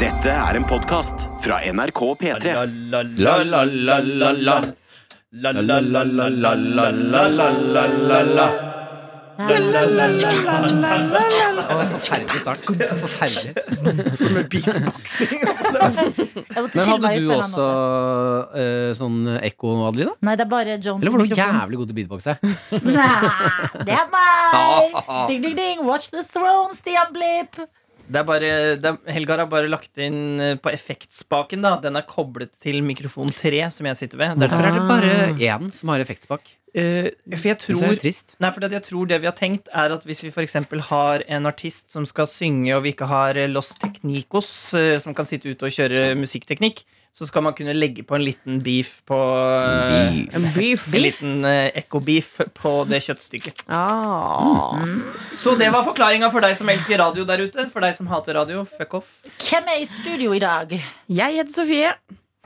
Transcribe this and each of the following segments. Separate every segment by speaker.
Speaker 1: Dette er en podkast fra NRK P3.
Speaker 2: La la la la la La la la la la la la la la la la
Speaker 3: Å, det er forferdelig start. Forferdelig.
Speaker 4: Jeg måtte
Speaker 3: Men
Speaker 4: skille
Speaker 3: hadde
Speaker 4: meg ut
Speaker 3: du
Speaker 4: på en eller annen
Speaker 3: også
Speaker 4: måte.
Speaker 3: eh, sånn ekko, Adelina?
Speaker 4: Nei, det er bare Jones.
Speaker 3: Eller var du
Speaker 4: mikrofon.
Speaker 3: jævlig god til beatboxe?
Speaker 4: Nei, det er meg! Ding, ding, ding. Watch the throne, Stian Blipp.
Speaker 5: Det er bare, det er, Helgar har bare lagt inn eh, på effektspaken. da Den er koblet til mikrofon 3, som jeg sitter ved. Derfor,
Speaker 3: Hvorfor er det bare én som har effektspak?
Speaker 5: eh, for jeg
Speaker 3: Det er
Speaker 5: tror
Speaker 3: trist.
Speaker 5: Nei, for at jeg tror det vi har tenkt er at Hvis vi for eksempel har en artist som skal synge, og vi ikke har eh, Los Technicos, eh, som kan sitte ute og kjøre musikkteknikk, så skal man kunne legge på en liten beef på eh,
Speaker 6: En beef.
Speaker 5: En liten eh, ekko-beef på det kjøttstykket. Mm.
Speaker 6: Ah.
Speaker 5: Så det var forklaringa for deg som elsker radio der ute. For deg som hater radio, fuck off.
Speaker 4: Hvem er i studio i dag?
Speaker 6: Jeg heter Sofie.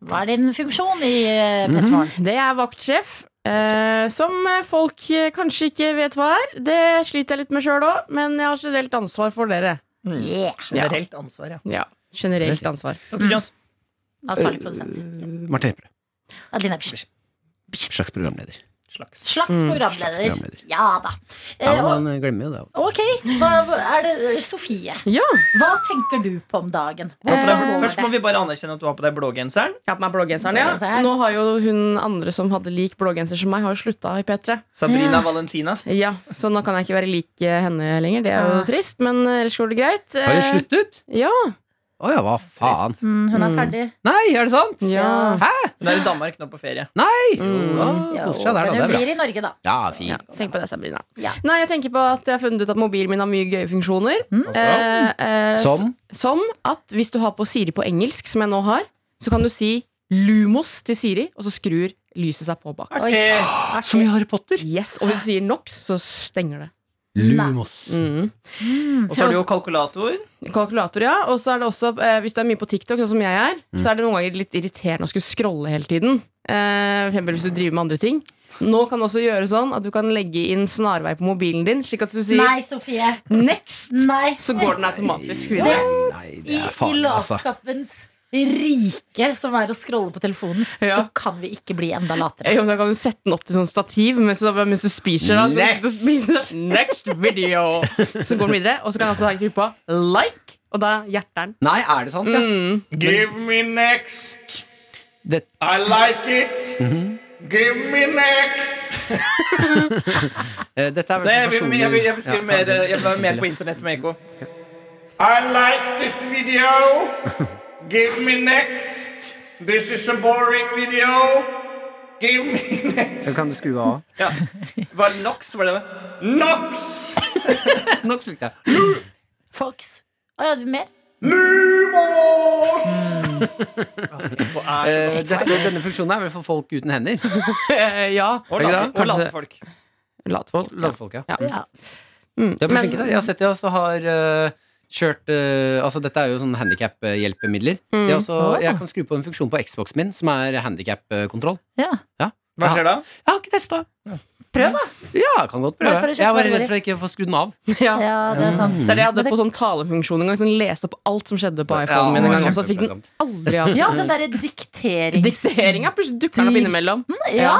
Speaker 4: Hva er din funksjon i eh, P3 Morgen?
Speaker 6: Det er vaktsjef. Eh, som folk eh, kanskje ikke vet hva er. Det sliter jeg litt med sjøl òg, men jeg har generelt ansvar for dere.
Speaker 3: Mhm.
Speaker 4: Yeah.
Speaker 5: Generelt ansvar, ja.
Speaker 6: Ja, generelt ansvar.
Speaker 5: Dr. Jones.
Speaker 4: Ansvarlig
Speaker 3: Øh.
Speaker 4: produsent. Ah,
Speaker 3: Martin Lepperød.
Speaker 4: Adelina Bisch.
Speaker 3: Slags programleder.
Speaker 5: Slags.
Speaker 4: Slags
Speaker 3: slags
Speaker 4: programleder.
Speaker 3: programleder.
Speaker 4: Ja da.
Speaker 3: Mm. Ja,
Speaker 4: Eh, og-
Speaker 3: men man glemmer jo det.
Speaker 4: Ok, hva hva er det eh, Sofie?
Speaker 6: Ja,
Speaker 4: Hva tenker du på om dagen?
Speaker 5: Du har på deg-
Speaker 4: Hvordan går
Speaker 5: Først må
Speaker 4: det?
Speaker 5: vi bare anerkjenne at du har på deg blågenseren.
Speaker 6: jeg har på meg blågenseren. Ja.
Speaker 4: Blågenser.
Speaker 6: Nå har jo hun andre som hadde lik blågenser som meg, har jo slutta i P3.
Speaker 5: Sabrina Valentina.
Speaker 6: Ja, Så nå kan jeg ikke være lik eh, henne lenger. Det er jo
Speaker 4: Ja.
Speaker 6: trist, men eh, ellers går det greit.
Speaker 3: Har det
Speaker 6: Eh,
Speaker 3: sluttet?
Speaker 6: Ja.
Speaker 3: Å ja, hva faen?
Speaker 4: Mm, Hun er ferdig.
Speaker 3: Nei, er det sant?
Speaker 6: ja.
Speaker 4: Ja.
Speaker 3: Hæ?
Speaker 5: Hun er i Danmark nå på ferie.
Speaker 3: Nei! Jo,
Speaker 6: Mm.
Speaker 3: da,
Speaker 4: Ja,
Speaker 3: Koser seg der,
Speaker 4: men
Speaker 3: da.
Speaker 4: hun
Speaker 3: Det er bra.
Speaker 4: blir i Norge, da.
Speaker 3: Ja,
Speaker 6: Ja,
Speaker 3: fint.
Speaker 6: tenk på det, Sabrina.
Speaker 4: Ja.
Speaker 6: Nei, jeg tenker på at jeg har funnet ut at mobilen min har mye gøye funksjoner.
Speaker 5: Altså,
Speaker 6: eh,
Speaker 3: Som
Speaker 6: Som at hvis du har på Siri på engelsk, som jeg nå har, så kan du si Lumos til Siri, og så skrur lyset seg på bak.
Speaker 4: Oi.
Speaker 5: eh,
Speaker 3: Ah, Som i Harry Potter.
Speaker 6: Yes, Og hvis du sier NOx, så stenger det.
Speaker 3: Lumos.
Speaker 6: Mm.
Speaker 5: Og så har du jo kalkulator.
Speaker 6: Kalkulator, ja. Og så er det også, eh, hvis du er mye på TikTok, sånn som jeg er, så er det noen ganger litt irriterende å skulle scrolle hele tiden. Eh, for eksempel hvis du driver med andre ting. Nå kan du også gjøre sånn at du kan legge inn snarvei på mobilen din, slik at du sier
Speaker 4: Nei, Sofie.
Speaker 6: next,
Speaker 4: Nei.
Speaker 6: så går den automatisk videre.
Speaker 3: Nei,
Speaker 4: I,
Speaker 3: det er
Speaker 4: i
Speaker 3: farlig, altså.
Speaker 4: latskapens rike, som er å scrolle på telefonen,
Speaker 6: Ja.
Speaker 4: så kan vi ikke bli enda latere.
Speaker 6: Ja, men da kan du sette den opp til sånn stativ mens du, mens du spiser. Da, Mens du spiser. Next video! Så går den videre, og så kan jeg også trykke på like, og da hjerter den.
Speaker 3: Nei, er det sant? Ja.
Speaker 7: Give me next.
Speaker 3: Det-
Speaker 7: I like it. Give me next.
Speaker 3: Eh, Dette er
Speaker 5: Nei, jeg,
Speaker 3: vel
Speaker 5: vil- jeg, vil- jeg, vil skrive
Speaker 3: Ja,
Speaker 5: mer, eh,
Speaker 3: ta det.
Speaker 5: jeg vil være mer på internett med ekko.
Speaker 7: I like this video. Give me next. This is a boring video. Give me next.
Speaker 3: Kan du skru av?
Speaker 5: Ja. Var det NOx? Var det
Speaker 7: Nox.
Speaker 3: Nok slikte jeg.
Speaker 4: Fox. Å ja, du mer?
Speaker 7: Lumos.
Speaker 3: Eh, dette- denne funksjonen er vel for folk uten hender.
Speaker 6: Eh, ja.
Speaker 5: Og
Speaker 3: Er det
Speaker 5: late,
Speaker 3: det?
Speaker 5: og late
Speaker 6: Kanskje-
Speaker 5: folk.
Speaker 6: Latvold.
Speaker 3: Landfolk, ja.
Speaker 4: Ja.
Speaker 6: Mm.
Speaker 3: Du er for
Speaker 6: Men-
Speaker 3: flink der. Jeg har sett de også har eh, kjørt eh, Altså, dette er jo sånne handikap-hjelpemidler. De har også, Jeg kan skru på en funksjon på Xboxen min som er handikap-kontroll.
Speaker 4: ja.
Speaker 5: Hva skjer da?
Speaker 3: Jeg har ikke testa.
Speaker 4: Prøv, da.
Speaker 3: Ja, jeg kan godt prøve.
Speaker 4: Bare for å sjekke
Speaker 3: jeg var
Speaker 4: hva det
Speaker 3: redd for å ikke få skrudd den av.
Speaker 6: Ja.
Speaker 4: Ja, det er sant.
Speaker 6: Det er det jeg hadde på sånn talefunksjon en gang. Sånn leste opp alt som skjedde på iPhonen min. en gang Og så fikk den
Speaker 3: kjempeplagsomt.
Speaker 6: aldri av.
Speaker 4: Ja, den derre diktering...
Speaker 6: Dikteringa plutselig dukker den opp innimellom.
Speaker 4: Mm. Ja.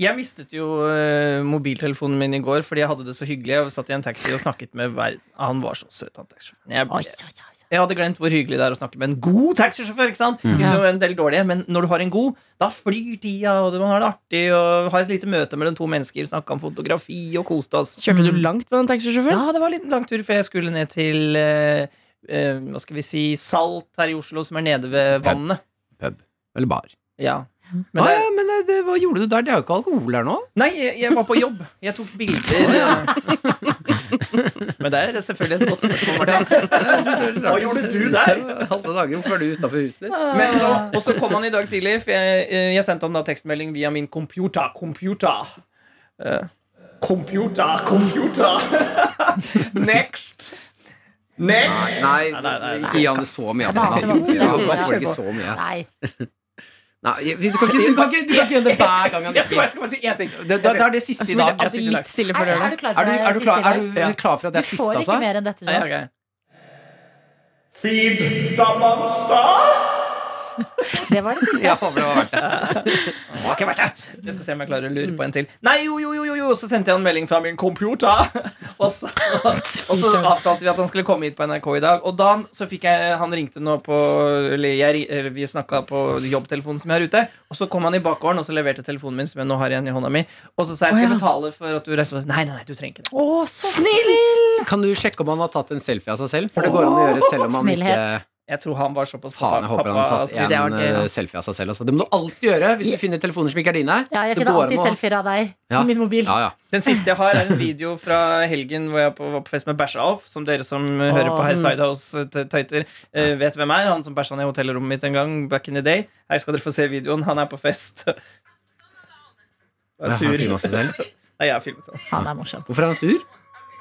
Speaker 5: Jeg mistet jo eh, mobiltelefonen min i går fordi jeg hadde det så hyggelig. Jeg satt i en taxi og snakket med hver Ah, Han var så søt, han taxisjåføren.
Speaker 4: Oi,
Speaker 5: Jeg,
Speaker 4: oi, oi.
Speaker 5: jeg hadde glemt hvor hyggelig det er å snakke med en god taxisjåfør. ikke sant? Vi så en del dårlige, men når du har en god, da flyr tida, og man har det artig, og har et lite møte mellom to mennesker, snakka om fotografi og koste oss.
Speaker 6: Kjørte du langt med den taxisjåføren?
Speaker 5: Ja, det var en liten lang tur før jeg skulle ned til eh, eh, hva skal vi si, Salt her i Oslo, som er nede ved vannet.
Speaker 3: Eller bar.
Speaker 5: Ja.
Speaker 3: Men,
Speaker 5: Men det,
Speaker 3: ah, ja, men eh, det, hva gjorde du der? Det er jo ikke alkohol her nå.
Speaker 5: Nei, jeg, jeg var på jobb. Jeg tok bilder. eh. Men det er selvfølgelig et godt spørsmål. Martin. Hva gjorde du der?
Speaker 3: Halve dagen før du utafor huset ditt.
Speaker 5: Men så, og så kom han i dag tidlig, for jeg, eh, jeg sendte han da tekstmelding via min computer. Computer. Eh, computer, computer.
Speaker 7: Next. Next.
Speaker 3: Nei,
Speaker 5: nei, nei,
Speaker 3: ikke gi han det så mye.
Speaker 4: Nei,
Speaker 3: Adelina.
Speaker 4: det var vanskelig.
Speaker 3: Ja, han får ikke så mye.
Speaker 4: Nei.
Speaker 3: Nei, du kan ikke, du kan ikke, du kan ikke gjøre det hver gang han
Speaker 5: Jeg skal,
Speaker 3: drikker.
Speaker 5: jeg skal bare si én ting.
Speaker 3: Det, det, det er det siste i
Speaker 6: Så
Speaker 3: dag.
Speaker 6: må du
Speaker 3: Er
Speaker 6: alltid litt stille
Speaker 4: Er,
Speaker 6: for å gjøre
Speaker 4: er du
Speaker 6: det.
Speaker 4: klar
Speaker 3: du,
Speaker 4: for
Speaker 3: er du,
Speaker 4: det
Speaker 3: klar, er altså? du
Speaker 4: siste i dag?
Speaker 3: klar for at
Speaker 4: Du
Speaker 3: det er siste,
Speaker 4: får ikke
Speaker 3: altså?
Speaker 4: mer enn dette,
Speaker 5: Ja,
Speaker 4: Jonas.
Speaker 5: ok.
Speaker 7: Feed the monster.
Speaker 4: Det var det siste.
Speaker 3: Ja, håper det var verdt det.
Speaker 5: Det har ikke vært det. Jeg skal se om jeg klarer å lure på en til. Nei, jo, jo, jo, jo, jo. Så sendte jeg en melding fra min computer. Og så, og så avtalte vi at han skulle komme hit på NRK i dag. Og da han- så fikk jeg Han ringte nå på Eller jeg, eller vi snakka på jobbtelefonen som jeg har ute. Og så kom han i bakgården og så leverte telefonen min, som jeg nå har igjen i hånda mi. Og så sa jeg skal jeg
Speaker 6: Å, ja.
Speaker 5: betale for at du reiser på Nei, nei, nei, du trenger ikke det.
Speaker 4: Å, så snill!
Speaker 3: Kan du sjekke om han har tatt en selfie av seg selv? For det går an å gjøre selv om han
Speaker 4: Snillhet.
Speaker 3: ikke
Speaker 5: Jeg tror han var såpass
Speaker 3: Faen, jeg håper han har tatt
Speaker 5: pappa- altså,
Speaker 3: en
Speaker 6: Det var gøy, da.
Speaker 3: eh, selfie av seg selv. Altså. Det må du alltid gjøre hvis du finner telefoner som ikke er dine.
Speaker 4: Ja, jeg
Speaker 3: Det
Speaker 4: finner
Speaker 3: går
Speaker 4: alltid
Speaker 3: an å-
Speaker 4: selfier av deg
Speaker 3: Ja.
Speaker 4: i min mobil.
Speaker 3: Ja, ja.
Speaker 5: Den siste jeg har, er en video fra helgen hvor jeg på- var på fest med Bæsja-Alf, som dere som eh, hører på her, Sidehouse-tøyter, eh, vet hvem er. Han som bæsja ned i hotellrommet mitt en gang back in the day. Her skal dere få se videoen. Han er på fest. Jeg er
Speaker 3: Ja,
Speaker 5: sur.
Speaker 3: han filmer seg
Speaker 5: Nei,
Speaker 3: selv.
Speaker 5: jeg har filmet det.
Speaker 4: Han er morsom.
Speaker 3: Hvorfor er han sur?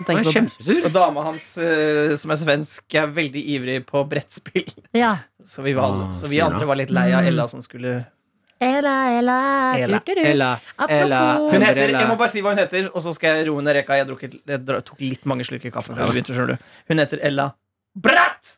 Speaker 6: Tenk
Speaker 3: Han
Speaker 6: på
Speaker 3: er
Speaker 6: det.
Speaker 3: kjempesur.
Speaker 5: Og dama hans, eh, som er svensk, er veldig ivrig på brettspill.
Speaker 4: Ja.
Speaker 5: Så vi, var, alle-
Speaker 3: Ah,
Speaker 5: så vi
Speaker 3: sur,
Speaker 5: andre
Speaker 3: ja.
Speaker 5: var litt lei av Ella som skulle
Speaker 4: Ella, Ella,
Speaker 5: Ella,
Speaker 4: du, du, du.
Speaker 3: Ella, Ella,
Speaker 4: Apropos-
Speaker 5: Hun heter,
Speaker 3: Ella.
Speaker 5: Jeg må bare si hva hun heter, og så skal jeg roe ned reka. Jeg, drukket, jeg dra- tok litt mange slurker kaffe før vi begynte, skjønner du. Hun heter Ella Bratt!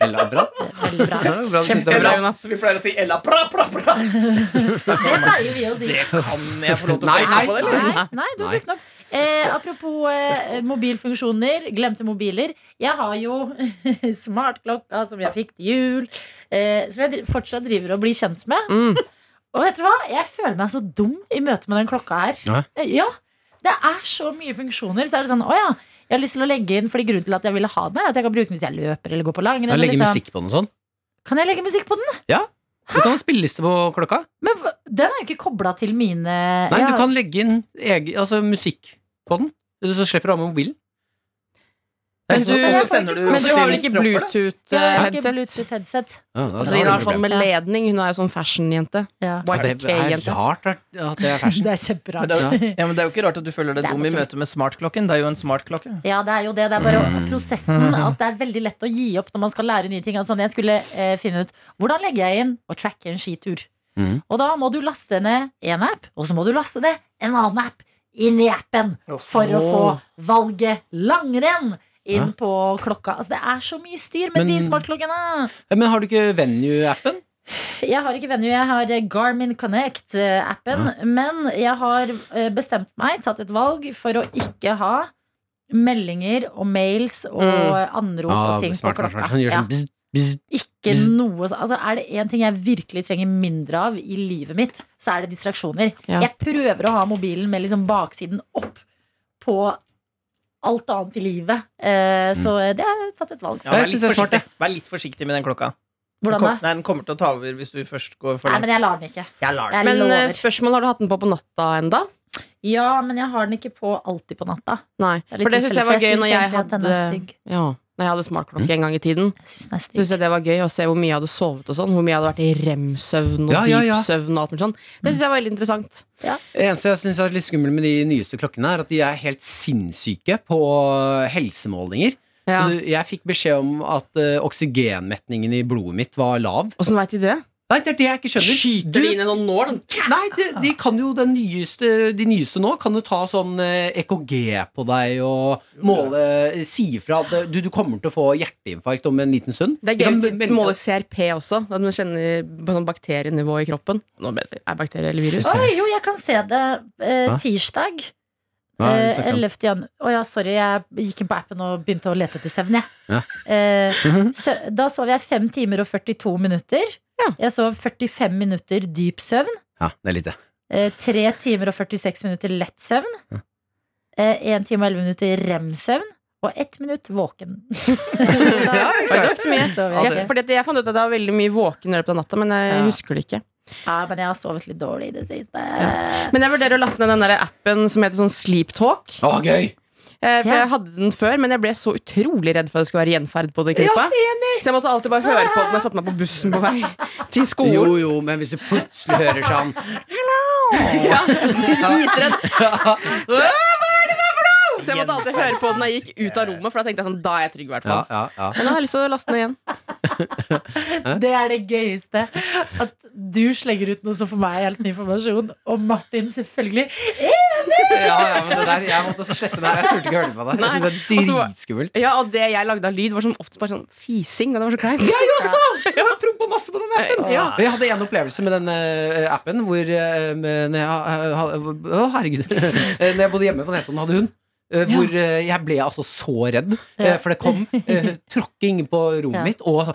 Speaker 3: Ella Bratt.
Speaker 4: Veldig bra.
Speaker 3: Ja, bra, du synes det var
Speaker 5: Ella,
Speaker 3: bra.
Speaker 6: Jonas.
Speaker 5: så vi pleier å si Ella pra, pra, pra.
Speaker 4: Det pleier vi å si.
Speaker 5: Det kan jeg få lov til å
Speaker 3: Nei,
Speaker 5: få
Speaker 3: nei,
Speaker 5: på det, eller?
Speaker 4: Nei, nei, du har
Speaker 3: Nei.
Speaker 4: brukt den opp. Eh, apropos eh, mobilfunksjoner, glemte mobiler. Jeg har jo smartklokka som jeg fikk til jul, eh, som jeg dri- fortsatt driver og blir kjent med.
Speaker 3: Mm.
Speaker 4: Og vet dere hva? Jeg føler meg så dum i møte med den klokka her.
Speaker 3: Ja.
Speaker 4: Eh, ja, Det er så mye funksjoner. Så er det sånn, å ja, jeg har lyst til å legge inn Fordi grunnen til at jeg ville ha den, er at jeg kan bruke den hvis jeg løper eller går på langrenn.
Speaker 3: Han
Speaker 4: eller
Speaker 3: legger
Speaker 4: sånn.
Speaker 3: musikk på den og sånn.
Speaker 4: Kan jeg legge musikk på den?
Speaker 3: Du kan ha spilleliste på klokka.
Speaker 4: Men hva- den er jo ikke kobla til mine
Speaker 3: Nei,
Speaker 4: jeg-
Speaker 3: du kan legge inn egen, altså, musikk på den, så slipper du av med mobilen.
Speaker 6: Men
Speaker 5: Og så- og så sender
Speaker 6: Men du har vel ikke eh,
Speaker 5: til propper, da?
Speaker 4: Jeg har ikke
Speaker 6: Bluetooth-headset?
Speaker 4: Bluetooth headset.
Speaker 3: Ja, da- da
Speaker 6: Adelina
Speaker 3: Altså, har
Speaker 6: har
Speaker 3: du
Speaker 6: sånn
Speaker 3: problem.
Speaker 6: med ledning. Hun er jo sånn fashion-jente.
Speaker 4: Ja.
Speaker 3: Er det er
Speaker 6: Y2K-jente.
Speaker 3: rart at at det er
Speaker 4: Det
Speaker 3: fashion.
Speaker 4: er kjemperart.
Speaker 5: Men det, er,
Speaker 3: Ja.
Speaker 5: ja, men det er jo ikke rart at du føler deg
Speaker 4: Det er
Speaker 5: dum i
Speaker 4: naturlig.
Speaker 5: møte med smartklokken. Det er jo en smartklokke.
Speaker 4: Ja, det er jo det. Det er bare prosessen. At det er veldig lett å gi opp når man skal lære nye ting. Altså, jeg skulle eh, finne ut hvordan legger jeg inn og tracke en skitur.
Speaker 3: Mhm.
Speaker 4: Og da må du laste ned en app, og så må du laste ned en annen app inn i appen for å få valget langrenn inn
Speaker 3: Hæ?
Speaker 4: på klokka. Altså, det er så mye styr med de
Speaker 3: Men-
Speaker 4: smartklokkene.
Speaker 3: Men har du ikke Venue-appen?
Speaker 4: Jeg har ikke Venue, jeg har eh, Garmin Connect-appen. Men jeg har eh, bestemt meg, tatt et valg, for å ikke ha meldinger og mails og
Speaker 6: Mm.
Speaker 4: anrop og
Speaker 3: Ja,
Speaker 4: ting på
Speaker 3: Ah, smart, smart,
Speaker 4: klokka.
Speaker 3: smart. Han gjør
Speaker 4: Ja,
Speaker 3: sånn bzz, bzz.
Speaker 4: ikke
Speaker 3: bzz.
Speaker 4: noe så- altså, Er det én ting jeg virkelig trenger mindre av i livet mitt, så er det distraksjoner.
Speaker 6: Ja.
Speaker 4: Jeg prøver å ha mobilen med liksom baksiden opp på alt annet i livet.
Speaker 3: Mm.
Speaker 4: Eh, Så det har jeg tatt et valg på.
Speaker 5: Ja, vær
Speaker 3: Jeg
Speaker 5: litt
Speaker 3: synes det er smart,
Speaker 5: forsiktig. Vær litt forsiktig med den klokka. Den,
Speaker 4: Hvordan
Speaker 5: kom,
Speaker 4: da?
Speaker 5: nei, den kommer til å ta over hvis du først går for
Speaker 4: Nei,
Speaker 5: langt.
Speaker 4: men jeg lar den ikke.
Speaker 5: Jeg lar den.
Speaker 4: Jeg
Speaker 6: Men eh,
Speaker 4: lover.
Speaker 6: spørsmål, har du hatt den på på natta enda?
Speaker 4: Ja, men jeg har den ikke på alltid på natta.
Speaker 6: Nei,
Speaker 4: er litt
Speaker 6: for det syns jeg
Speaker 4: tilfeldig,
Speaker 6: var
Speaker 4: for jeg
Speaker 6: gøy
Speaker 4: synes
Speaker 6: når jeg
Speaker 4: egentlig at den
Speaker 6: hadde,
Speaker 4: er stygg.
Speaker 6: ja, når jeg hadde
Speaker 3: Mm.
Speaker 6: smartklokke en gang i tiden.
Speaker 4: Jeg synes den er stygg.
Speaker 6: Synes jeg Det var gøy å se hvor mye jeg hadde sovet og sånn. Hvor mye jeg hadde vært i rem-søvn og
Speaker 3: Ja, ja, ja.
Speaker 6: dypsøvn. og alt mulig sånn. Det syns jeg var veldig interessant.
Speaker 3: Det eneste jeg syns er litt skummelt med de nyeste klokkene, er at de er helt sinnssyke på helsemålinger.
Speaker 6: Ja.
Speaker 3: Så du, jeg fikk beskjed om at eh, oksygenmetningen i blodet mitt var lav.
Speaker 6: Åssen veit de det?
Speaker 3: Nei, det er det jeg ikke skjønner.
Speaker 6: Skyter de inn en sånn nål?
Speaker 3: Nei, de, de kan jo den nyeste, de nyeste nå kan jo ta sånn eh, EKG på deg og måle Si ifra at eh, du, du kommer til å få hjerteinfarkt om en liten stund.
Speaker 6: Det er
Speaker 3: De
Speaker 6: gøy
Speaker 3: kan
Speaker 6: hvis de
Speaker 3: melde-
Speaker 6: måler CRP også. At man kjenner på sånn bakterienivå i kroppen. Nå vet jeg- er bakterie eller virus.
Speaker 3: Se.
Speaker 4: Oi, jo, jeg kan se det eh,
Speaker 3: Hæ?
Speaker 4: tirsdag.
Speaker 3: Hva er det
Speaker 4: Eh,
Speaker 3: du snakker om?
Speaker 4: 11. jan... Å ja, sorry, jeg gikk inn på appen og begynte å lete etter søvn, jeg.
Speaker 3: Ja.
Speaker 4: Eh, sø- da sov jeg 5 timer og 42 minutter.
Speaker 6: Ja.
Speaker 4: Jeg sov 45 minutter dyp søvn.
Speaker 3: Ja, det er lite.
Speaker 4: 3 timer og 46 minutter lett søvn.
Speaker 3: Ja.
Speaker 4: Eh, 1 time og 11 minutter rem-søvn. Og 1 minutt våken.
Speaker 6: Ja, ikke sant?
Speaker 4: så mye.
Speaker 6: Jeg, fordi at jeg fant ut at jeg var veldig mye våken i løpet av natta, men jeg
Speaker 4: Ja.
Speaker 6: husker det ikke.
Speaker 4: Ja, men jeg har sovet litt dårlig i det siste.
Speaker 6: Men jeg vurderer å laste ned den der appen som heter sånn Sleep Talk.
Speaker 3: Å, gøy!
Speaker 6: Eh, For
Speaker 4: Ja.
Speaker 6: jeg hadde den før, men jeg ble så utrolig redd for at det skulle være gjenferd på det klippet. så jeg måtte alltid bare høre på den og satte meg på bussen på vei til
Speaker 3: Jo,
Speaker 6: skolen.
Speaker 3: jo, men hvis du plutselig hører sånn
Speaker 6: Ja, dritredd. Så jeg måtte alltid høre på den når jeg gikk ut av rommet, for da tenkte jeg sånn, da er jeg trygg i hvert
Speaker 3: Ja,
Speaker 6: fall.
Speaker 3: ja, ja.
Speaker 6: Men nå har jeg lyst til å laste den igjen.
Speaker 4: Det er det gøyeste. At du slenger ut noe som for meg er helt ny informasjon. Og Martin selvfølgelig enig!
Speaker 3: Ja, ja, men det der, jeg måtte også slette meg. Jeg turte ikke høre på det. Jeg synes det er
Speaker 6: Nei, og
Speaker 3: dritskummelt.
Speaker 6: Ja, og det jeg lagde av lyd, var som ofte bare sånn fising. Og det var så kleint.
Speaker 3: Jeg også! Jeg har prompa masse på den appen.
Speaker 6: Ja.
Speaker 3: Jeg hadde en opplevelse med den eh, appen hvor eh, med- når jeg, ha- ha- Å, herregud. Eh, Når jeg bodde hjemme på Nesodden og hadde hund. eh, Hvor eh, jeg ble altså så redd, eh, for det kom eh, tråkking på rommet
Speaker 4: Ja.
Speaker 3: mitt, og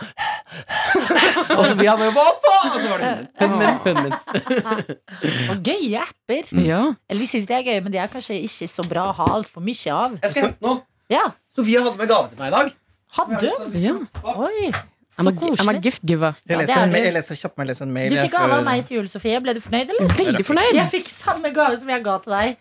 Speaker 3: Og så ble jeg bare Hva faen? Og så var det hunden min. Hunden min. Hunden min.
Speaker 4: Og gøye apper.
Speaker 6: Ja.
Speaker 4: Eller vi syns de er gøye, men de er kanskje ikke så bra å ha altfor mye av.
Speaker 3: Jeg skal hente noe.
Speaker 4: Ja,
Speaker 3: Sofie hadde med gave til meg i dag.
Speaker 4: hadde du?
Speaker 6: ja.
Speaker 4: Oi.
Speaker 6: I'm, a,
Speaker 4: koselig.
Speaker 6: I'm a gift giver.
Speaker 4: Ja,
Speaker 5: Jeg
Speaker 4: det
Speaker 5: leser,
Speaker 4: er
Speaker 5: en,
Speaker 4: det.
Speaker 5: ma- jeg leser kjapt meg leser en mail.
Speaker 4: Du
Speaker 5: jeg,
Speaker 4: fikk gave
Speaker 5: før-
Speaker 4: av meg til jul, Sofie. Ble du fornøyd, eller?
Speaker 6: Veldig fornøyd.
Speaker 4: Jeg fikk samme gave som jeg ga til deg.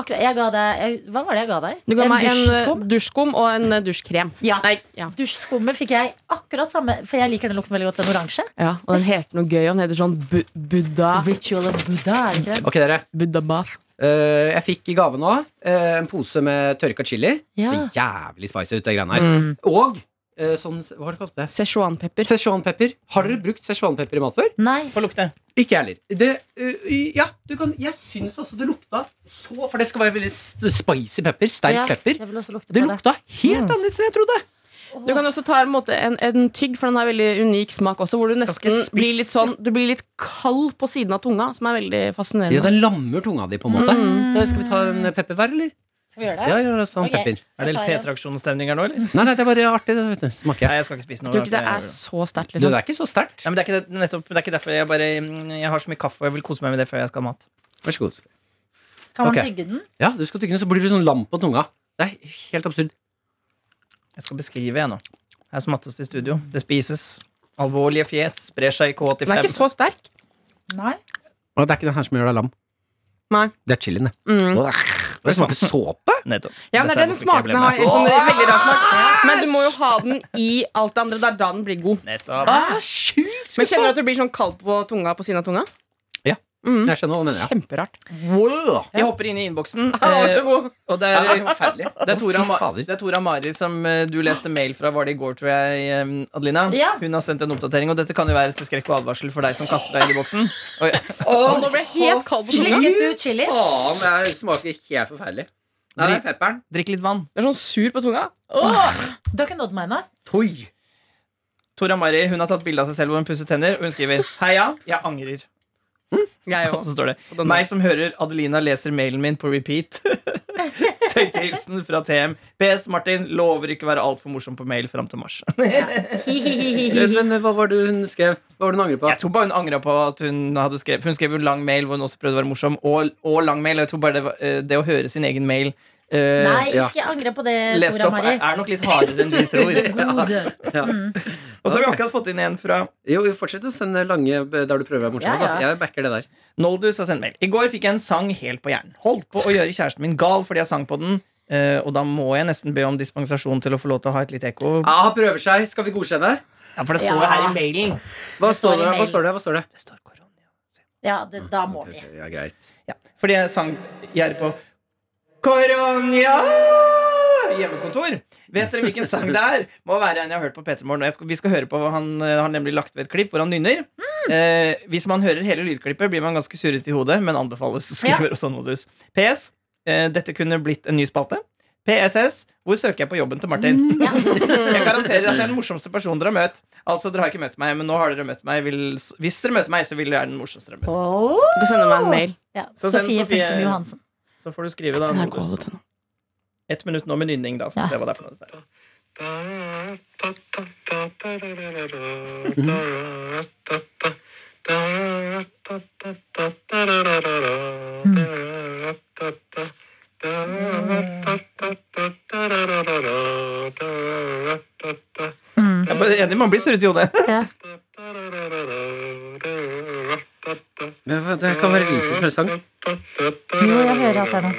Speaker 4: Akkurat, jeg ga deg jeg, Hva var det jeg ga deg?
Speaker 6: Du ga meg en eh,
Speaker 4: dusjskum?
Speaker 6: dusjskum og en eh, dusjkrem.
Speaker 4: Ja.
Speaker 6: Nei, ja.
Speaker 4: Dusjskummet fikk jeg akkurat samme, for jeg liker den lukten veldig godt, den oransje.
Speaker 6: ja, Og den heter noe gøy. og Den heter sånn bu Buddha
Speaker 4: Ritual of Buddha, er det ikke det?
Speaker 3: Ok, dere.
Speaker 6: Buddha bath.
Speaker 3: Eh, jeg fikk i gave nå eh, en pose med tørka chili.
Speaker 4: Ja. Mm.
Speaker 3: Så jævlig spicy ut, det greiene her. Og eh, sånn Hva har du kalt det?
Speaker 6: Szechuanpepper.
Speaker 3: Szechuanpepper. Har dere brukt szechuanpepper i mat før?
Speaker 4: Nei.
Speaker 5: Få lukte.
Speaker 3: Ikke jeg heller. Det, eh, ja, du kan Jeg syns altså det lukta så For det skal være veldig s- spicy pepper. Sterk
Speaker 4: Ja,
Speaker 3: pepper.
Speaker 4: Jeg vil også lukte
Speaker 3: Det
Speaker 4: på det.
Speaker 3: lukta helt annerledes enn jeg trodde.
Speaker 6: Du kan også ta en, måte, en, en tygg, for den har veldig unik smak også. Hvor du nesten
Speaker 5: spiss.
Speaker 6: blir litt sånn Du blir litt kald på siden av tunga, som er veldig
Speaker 3: Ja,
Speaker 6: fascinerende.
Speaker 3: Den lammer tunga di, på en måte. Da skal vi ta en pepper hver, eller?
Speaker 4: Skal vi gjøre det?
Speaker 3: Ja, ja, sånn
Speaker 4: Ok.
Speaker 3: pepper.
Speaker 5: Er det litt P-traksjonsstemning her nå, eller?
Speaker 3: Nei, nei, det er bare artig. Det, vet du. Smaker jeg.
Speaker 5: Nei, jeg skal ikke spise noe.
Speaker 6: Jeg tror ikke det
Speaker 5: for
Speaker 6: er
Speaker 5: jeg-
Speaker 6: så sterkt.
Speaker 3: Du, det
Speaker 6: Liksom.
Speaker 3: er ikke så sterkt.
Speaker 5: Ja, men det, er ikke det, nettopp, det er ikke derfor jeg bare Jeg har så mye kaffe, og jeg vil kose meg med det før jeg skal ha mat.
Speaker 3: Vær så god. Sofie.
Speaker 4: Kan man
Speaker 3: Ok.
Speaker 4: tygge den?
Speaker 3: Ja, du skal tygge den, så blir du sånn lam på tunga. Det er helt absurd.
Speaker 5: Jeg skal beskrive, jeg nå. Her smattes det i studio. Det spises. Alvorlige fjes sprer seg i K85.
Speaker 6: Den er ikke så sterk.
Speaker 4: Nei.
Speaker 3: Og det er ikke den her som gjør deg lam.
Speaker 6: Nei.
Speaker 3: Det er chilien, det.
Speaker 6: Mm.
Speaker 3: Det smaker såpe.
Speaker 5: Nettopp.
Speaker 6: Ja, men det
Speaker 5: Dette
Speaker 6: er den
Speaker 5: hvorfor ikke jeg ble
Speaker 6: smaken har
Speaker 5: med.
Speaker 6: sånn, veldig rar smak. Men du må jo ha den i alt det andre. Det er da den blir god.
Speaker 5: Nettopp.
Speaker 3: Ah, sjukt!
Speaker 6: Men kjenner du at du blir sånn kald på tunga på siden av tunga?
Speaker 3: Ja.
Speaker 6: Mm.
Speaker 3: Jeg skjønner hva du mener.
Speaker 6: Kjemperart.
Speaker 3: Wow.
Speaker 5: Jeg hopper inn i innboksen,
Speaker 6: var
Speaker 5: eh,
Speaker 6: så god.
Speaker 5: og det
Speaker 3: Det er
Speaker 5: er
Speaker 3: forferdelig.
Speaker 5: det er, Tora,
Speaker 3: Ah, Fy
Speaker 5: Ma-
Speaker 3: fader.
Speaker 5: det er Tora Mari som eh, du leste mail fra Var det i går, tror jeg, eh, Adelina.
Speaker 4: Ja.
Speaker 5: Hun har sendt en oppdatering, og dette kan jo være til skrekk og advarsel for deg som kaster deg inn i boksen. Oi.
Speaker 6: Nå ble jeg helt kald på tunga.
Speaker 4: Slikket du chili?
Speaker 3: Faen, det smaker helt forferdelig. Nei, det er pepperen.
Speaker 5: Drikk litt vann.
Speaker 6: Det er sånn sur på tunga. Åh!
Speaker 4: Du har ikke nådd meg ennå?
Speaker 3: Toi.
Speaker 5: Tora Mari hun har tatt bilde av seg selv hvor hun pusser tenner, og hun skriver Heia, jeg angrer.
Speaker 4: Mm,
Speaker 6: Jeg
Speaker 5: Og så
Speaker 6: også.
Speaker 5: står det Meg som hører Adelina leser mailen min på repeat. Tøytehilsen fra TM. PS Martin lover ikke være altfor morsom på mail fram til mars.
Speaker 3: Men hva var det hun skrev? Hva var det hun angrer på?
Speaker 5: Jeg tror bare hun angra på at hun hadde skrevet For hun skrev jo en lang mail hvor hun også prøvde å være morsom, og, og lang mail. Jeg tror bare det, var, eh, det å høre sin egen mail eh,
Speaker 4: Nei,
Speaker 3: Ja.
Speaker 4: ikke angre på det,
Speaker 5: lest
Speaker 4: Tora
Speaker 5: opp
Speaker 4: Mari.
Speaker 5: er, er nok litt hardere enn vi tror.
Speaker 4: God. Mm.
Speaker 3: Ja.
Speaker 5: Og så har vi akkurat fått inn en fra
Speaker 3: Jo, jo, fortsett å sende lange der du prøver å være morsom.
Speaker 4: Ja,
Speaker 3: altså.
Speaker 4: ja.
Speaker 3: Jeg backer det der.
Speaker 5: Noldus har sendt mail. I går fikk jeg en sang helt på hjernen. Holdt på å gjøre kjæresten min gal fordi jeg sang på den. eh, og da må jeg nesten be om dispensasjon til å få lov til å ha et lite ekko.
Speaker 3: Ah, prøver seg. Skal vi godkjenne?
Speaker 5: Ja, for det står
Speaker 4: Ja.
Speaker 5: jo her i mailen.
Speaker 3: Hva
Speaker 4: står i
Speaker 3: står det? Hva
Speaker 4: mailen.
Speaker 3: står det? Hva står det?
Speaker 5: Det står korona.
Speaker 4: Ja, det, da må vi.
Speaker 3: Ja, greit.
Speaker 5: Ja, fordi jeg sang gjerde på Koronja hjemmekontor. Vet dere hvilken sang det er? Må være en jeg har hørt på Petermorgen. og jeg skal- Vi skal høre på hva han eh, har nemlig lagt ved et klipp hvor han nynner.
Speaker 6: Mm.
Speaker 5: Eh, hvis man hører hele lydklippet, blir man ganske surret i hodet, men anbefales. skriver også Nodus. PS. Eh, dette kunne blitt en ny spalte. PSS. Hvor søker jeg på jobben til Martin?
Speaker 6: Mm,
Speaker 4: Ja.
Speaker 5: Jeg garanterer at jeg er den morsomste personen dere har møtt. Altså, dere har ikke møtt meg, men nå har dere møtt meg. Vil, hvis dere møter meg, så vil jeg være den morsomste dere har møtt.
Speaker 4: Oh.
Speaker 6: Du kan sende meg en mail.
Speaker 4: Ja.
Speaker 5: Så send
Speaker 4: Sofie,
Speaker 5: Sofie-
Speaker 4: Punktum Johansen.
Speaker 5: Så får du skrive, da.
Speaker 6: Den er
Speaker 5: Nodus.
Speaker 6: god, vet du.
Speaker 5: Ett minutt nå med nynning, da. Får vi
Speaker 4: Ja.
Speaker 5: se hva det er for noe. dette er. Jeg er bare enig, man blir surret i hodet.
Speaker 4: Ja.
Speaker 3: Det, det kan være hvilken som helst sang.
Speaker 4: Jo, jeg hører at det er noe.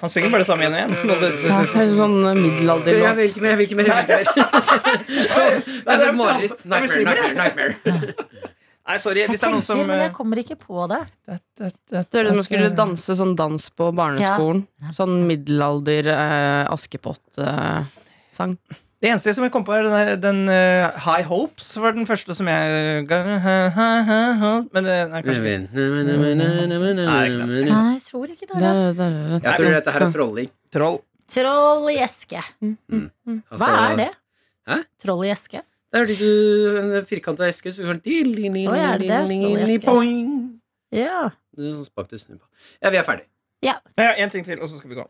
Speaker 5: Han synger bare det samme igjen og igjen. Nodus.
Speaker 6: Ja, det er sånn middelalder
Speaker 3: Jeg vil ikke mer. Jeg vil ikke mer. Jeg vil ikke mer.
Speaker 5: Nei,
Speaker 3: Jeg
Speaker 5: det
Speaker 3: får
Speaker 5: er
Speaker 3: mareritt.
Speaker 5: Frans. Jeg blir
Speaker 3: Nightmare,
Speaker 5: svimmel,
Speaker 3: nightmare,
Speaker 5: jeg.
Speaker 3: nightmare.
Speaker 5: Nei, sorry,
Speaker 4: Jeg
Speaker 5: hvis det er noen som
Speaker 4: tenker,
Speaker 5: eh,
Speaker 4: men jeg kommer ikke på det.
Speaker 6: Hørte du man skulle danse sånn dans på eh. barneskolen? Sånn middelalder eh, Askepott-sang.
Speaker 5: Det eneste som jeg kom på, er den, der, den eh, High Hopes. var den første som jeg eh, Men det er kanskje ikke- Mm.
Speaker 4: Nei, jeg tror ikke det. er den.
Speaker 8: Jeg tror dette her er trolling.
Speaker 5: Troll.
Speaker 4: Troll i eske. Mm.
Speaker 5: Mm.
Speaker 4: Hva
Speaker 8: Altså,
Speaker 4: er det?
Speaker 8: Hæ?
Speaker 4: Troll i eske?
Speaker 8: Det er fordi du en firkanta eske, så du kan ding, ding, ding,
Speaker 4: Å, er det det?
Speaker 8: ding, ding,
Speaker 4: Sånn
Speaker 8: ding,
Speaker 4: eske.
Speaker 8: boing.
Speaker 4: Ja.
Speaker 8: Det er Sånn spak du snur på. Ja, vi er ferdig.
Speaker 5: Ja, en ting til, og så skal vi gå.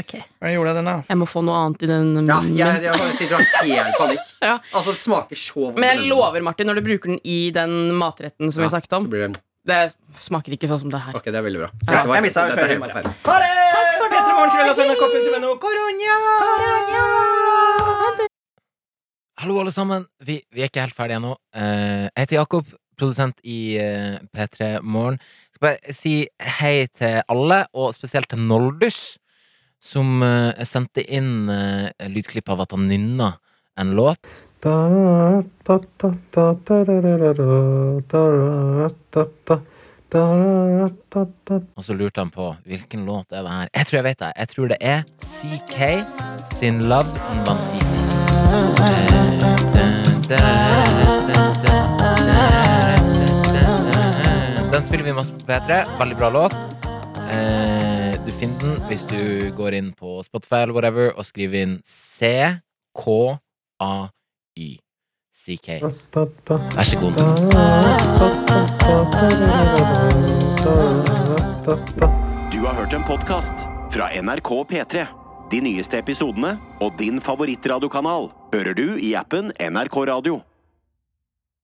Speaker 4: Ok.
Speaker 5: Hva gjorde jeg den, da?
Speaker 6: Jeg må få noe annet i den.
Speaker 8: Ja,
Speaker 6: munnen.
Speaker 8: jeg, jeg bare sitter og har helt panikk.
Speaker 6: Ja.
Speaker 8: Altså, det smaker så vondt.
Speaker 6: Men
Speaker 8: i
Speaker 6: jeg
Speaker 8: munnen.
Speaker 6: lover, Martin, når du bruker den i den matretten som vi
Speaker 8: Ja,
Speaker 6: snakket om
Speaker 8: Så blir det,
Speaker 6: Det smaker ikke sånn som det her.
Speaker 8: ok, det er veldig bra.
Speaker 6: Ja,
Speaker 8: Dette var-
Speaker 5: jeg mistet
Speaker 8: dette er
Speaker 5: før jeg
Speaker 8: helt
Speaker 5: var
Speaker 8: forferdelig.
Speaker 5: Ha det!
Speaker 4: Takk for nå!
Speaker 5: Petremorgen.nrk.no. Koronia!
Speaker 3: Hallo, alle sammen. Vi, vi er ikke helt ferdige ennå. Eh, Jeg heter Jakob, produsent i eh, P3 Morgen. Skal bare si hei til alle, og spesielt til Noldus, som eh, sendte inn eh, lydklipp av at han nynna en låt. Og så lurte han på hvilken låt er det her. Jeg tror jeg vet det. Jeg tror det er CK sin Love and Bandit. Den spiller vi masse på P3. Veldig bra låt. Eh, Du finner den hvis du går inn på Spotify eller whatever og skriver inn C-K-A-Y. CK. Vær så god.
Speaker 1: Du har hørt en podcast fra NRK P3. De nyeste episodene og din favorittradiokanal hører du i appen NRK Radio.